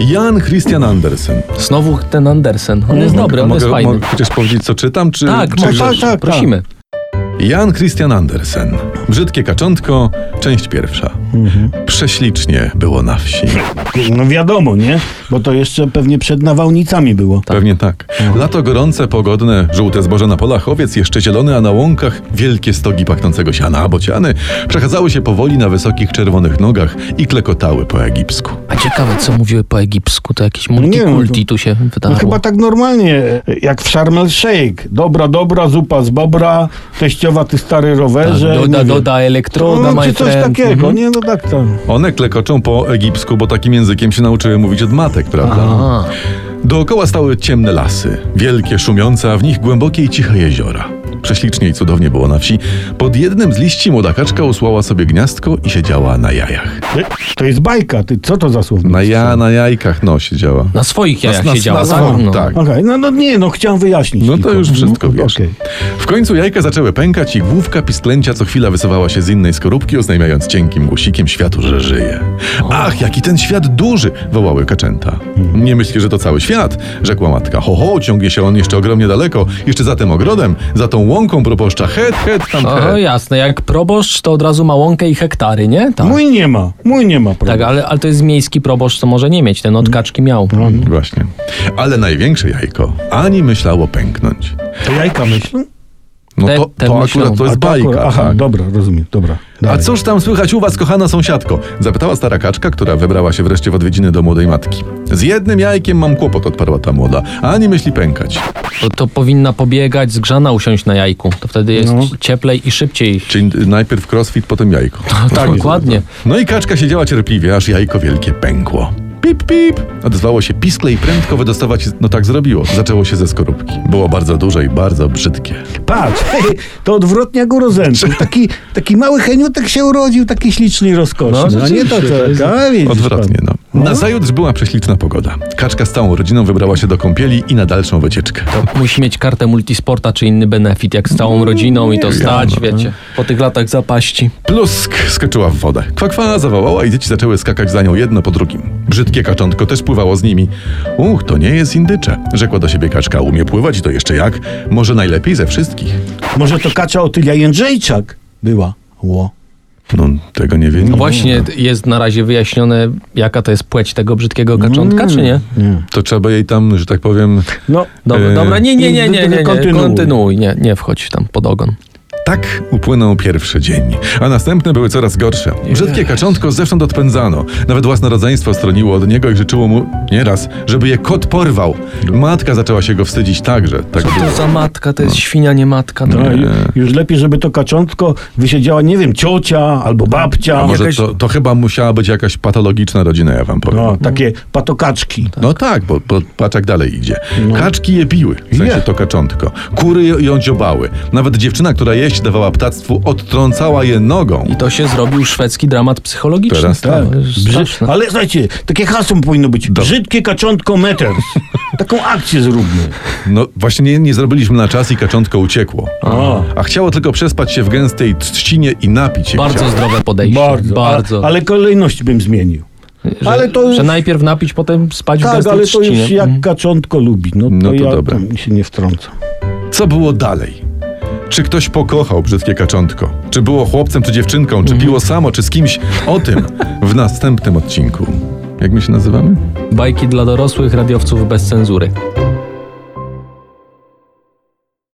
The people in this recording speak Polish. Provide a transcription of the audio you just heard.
Jan Christian Andersen. Znowu ten Andersen. On Mm. jest dobry, on mogę, jest fajny. Mogę chociaż powiedzieć, co czytam? Czy, Tak, czy możesz, że- tak, tak. prosimy. Jan Christian Andersen. Brzydkie kaczątko, część pierwsza. Prześlicznie było na wsi. Tak. No wiadomo, nie? Bo to jeszcze pewnie przed nawałnicami było. Pewnie tak. Lato gorące, pogodne, żółte zboże na polach owiec, jeszcze zielone, a na łąkach wielkie stogi pachnącego siana, a bociany przechadzały się powoli na wysokich czerwonych nogach i klekotały po egipsku. A ciekawe, co mówiły po egipsku, to jakieś No wiem, multikulti to- tu się No wydarło. chyba tak normalnie, jak w Sharm el Sheikh. Dobra, dobra, zupa z bobra, teściowa, ty stary Tak, rowerze. nie Doda, wiem. doda elektroda, no, my czy coś friend. takiego, Mhm. nie? No tak to. One klekoczą po egipsku, bo takim językiem się nauczyły mówić od matek, prawda? A, Dookoła stały ciemne lasy, wielkie, szumiące, a w nich głębokie i ciche jeziora. Prześlicznie i cudownie było na wsi. Pod jednym z liści młoda kaczka usłała sobie gniazdko i siedziała na jajach. Ty, To jest bajka, ty, co to za słownictwo? Na No ja, na jajkach, no, siedziała. na swoich jajach na- siedziała, na tak? swoich, No. tak. Okej, no, no nie, no chciałem wyjaśnić. No to tylko. już wszystko Mhm, wiesz. okej. W końcu jajka zaczęły pękać i główka pisklęcia co chwila wysuwała się z innej skorupki, oznajmiając cienkim głosikiem światu, że żyje. Ach, jaki ten świat duży! wołały kaczęta. Hmm. Nie myśli, że to cały świat, rzekła matka. Ho, ho, ciągnie się on jeszcze ogromnie daleko, jeszcze za tym ogrodem, za tą łąką proposzcza, het, het, tam O, het. No, jasne, jak proboszcz, to od razu ma łąkę i hektary, nie? Tak, Mój nie ma, mój nie ma. tak Prawda? ale, ale to jest miejski proboszcz, to może nie mieć, ten od kaczki miał. No. Właśnie. Ale największe jajko ani myślało pęknąć. To jajka myślą? No Te- to, te to myślą. akurat Tak, to jest A, to akurat- bajka. Aha, tak. dobra, rozumiem, dobra. A dalej. cóż tam słychać u was, kochana sąsiadko? Zapytała stara kaczka, która wybrała się wreszcie w odwiedziny do młodej matki. Z jednym jajkiem mam kłopot, odparła ta młoda. Ani myśli pękać. To, to powinna pobiegać, zgrzana usiąść na jajku. To wtedy jest No. cieplej i szybciej. Czyli najpierw crossfit, potem jajko. Tak, dokładnie. No i kaczka siedziała cierpliwie, aż jajko wielkie pękło. Pip, pip! Odezwało się piskle i prędko wydostawać. się- No tak zrobiło. Zaczęło się ze skorupki. Było bardzo duże i bardzo brzydkie. Patrz, hej, to odwrotnie jak u Rozenty. Taki, taki mały heniutek się urodził, taki śliczny i No, rozkoszny. No, nie to, co, a, widzisz Odwrotnie, pan. no. Nazajutrz była prześliczna pogoda. Kaczka z całą rodziną wybrała się do kąpieli i na dalszą wycieczkę. Musi mieć kartę multisporta czy inny benefit, jak z Mm, całą rodziną i to stać, no. wiecie. Po tych latach zapaści. Plusk skoczyła w wodę. Kwakwa zawołała i dzieci zaczęły skakać za nią jedno po drugim. Brzydkie kaczątko też pływało z nimi. Uch, to nie jest indycze, rzekła do siebie kaczka. Umie pływać i to jeszcze jak? Może najlepiej ze wszystkich. Może to Kacia Otylia Jędrzejczak była. Ło. No, tego nie wiem. Właśnie jest na razie wyjaśnione, jaka to jest płeć tego brzydkiego kaczątka, Mm. czy nie? To trzeba jej tam, że tak powiem... No, Dobra, Eee, dobra, nie, nie, nie, nie, nie, nie. kontynuuj. kontynuuj, nie, nie wchodź tam pod ogon. Tak upłynął pierwszy dzień, a następne były coraz gorsze. Brzydkie kaczątko zewsząd odpędzano. Nawet własne rodzeństwo stroniło od niego i życzyło mu nieraz, żeby je kot porwał. Matka zaczęła się go wstydzić także. Tak było. To za matka, to jest świnia, nie matka. To... no, ju- już lepiej, żeby to kaczątko wysiedziała, nie wiem, ciocia albo babcia. A może jakaś- to, to chyba musiała być jakaś patologiczna rodzina, ja wam powiem. No, takie patokaczki. No tak, bo, bo patrz jak dalej idzie. No. Kaczki je biły, w sensie Je. to kaczątko. Kury je- ją dziobały. Nawet dziewczyna, która jeść dawała ptactwu, odtrącała je nogą. I to się zrobił szwedzki dramat psychologiczny. Teraz tak. To No, jest Brzyd... straszne. Ale słuchajcie, takie hasło powinno być. Brzydkie kaczątko meters. Taką akcję zróbmy. No właśnie nie, nie zrobiliśmy na czas i kaczątko uciekło. A. A chciało tylko przespać się w gęstej trzcinie i napić się Bardzo chciało. zdrowe podejście. Bardzo. A, ale kolejność bym zmienił. że, ale to już- że najpierw napić, potem spać w Tak, gęstej ale to już trzcinie. jak Mhm. kaczątko lubi. No to, No to ja dobra. tam się nie wtrącam. Co było dalej? Czy ktoś pokochał brzydkie kaczątko? Czy było chłopcem czy dziewczynką? Mhm. Czy piło samo, czy z kimś? O tym w następnym odcinku. Jak my się nazywamy? Bajki dla dorosłych, radiowców bez cenzury.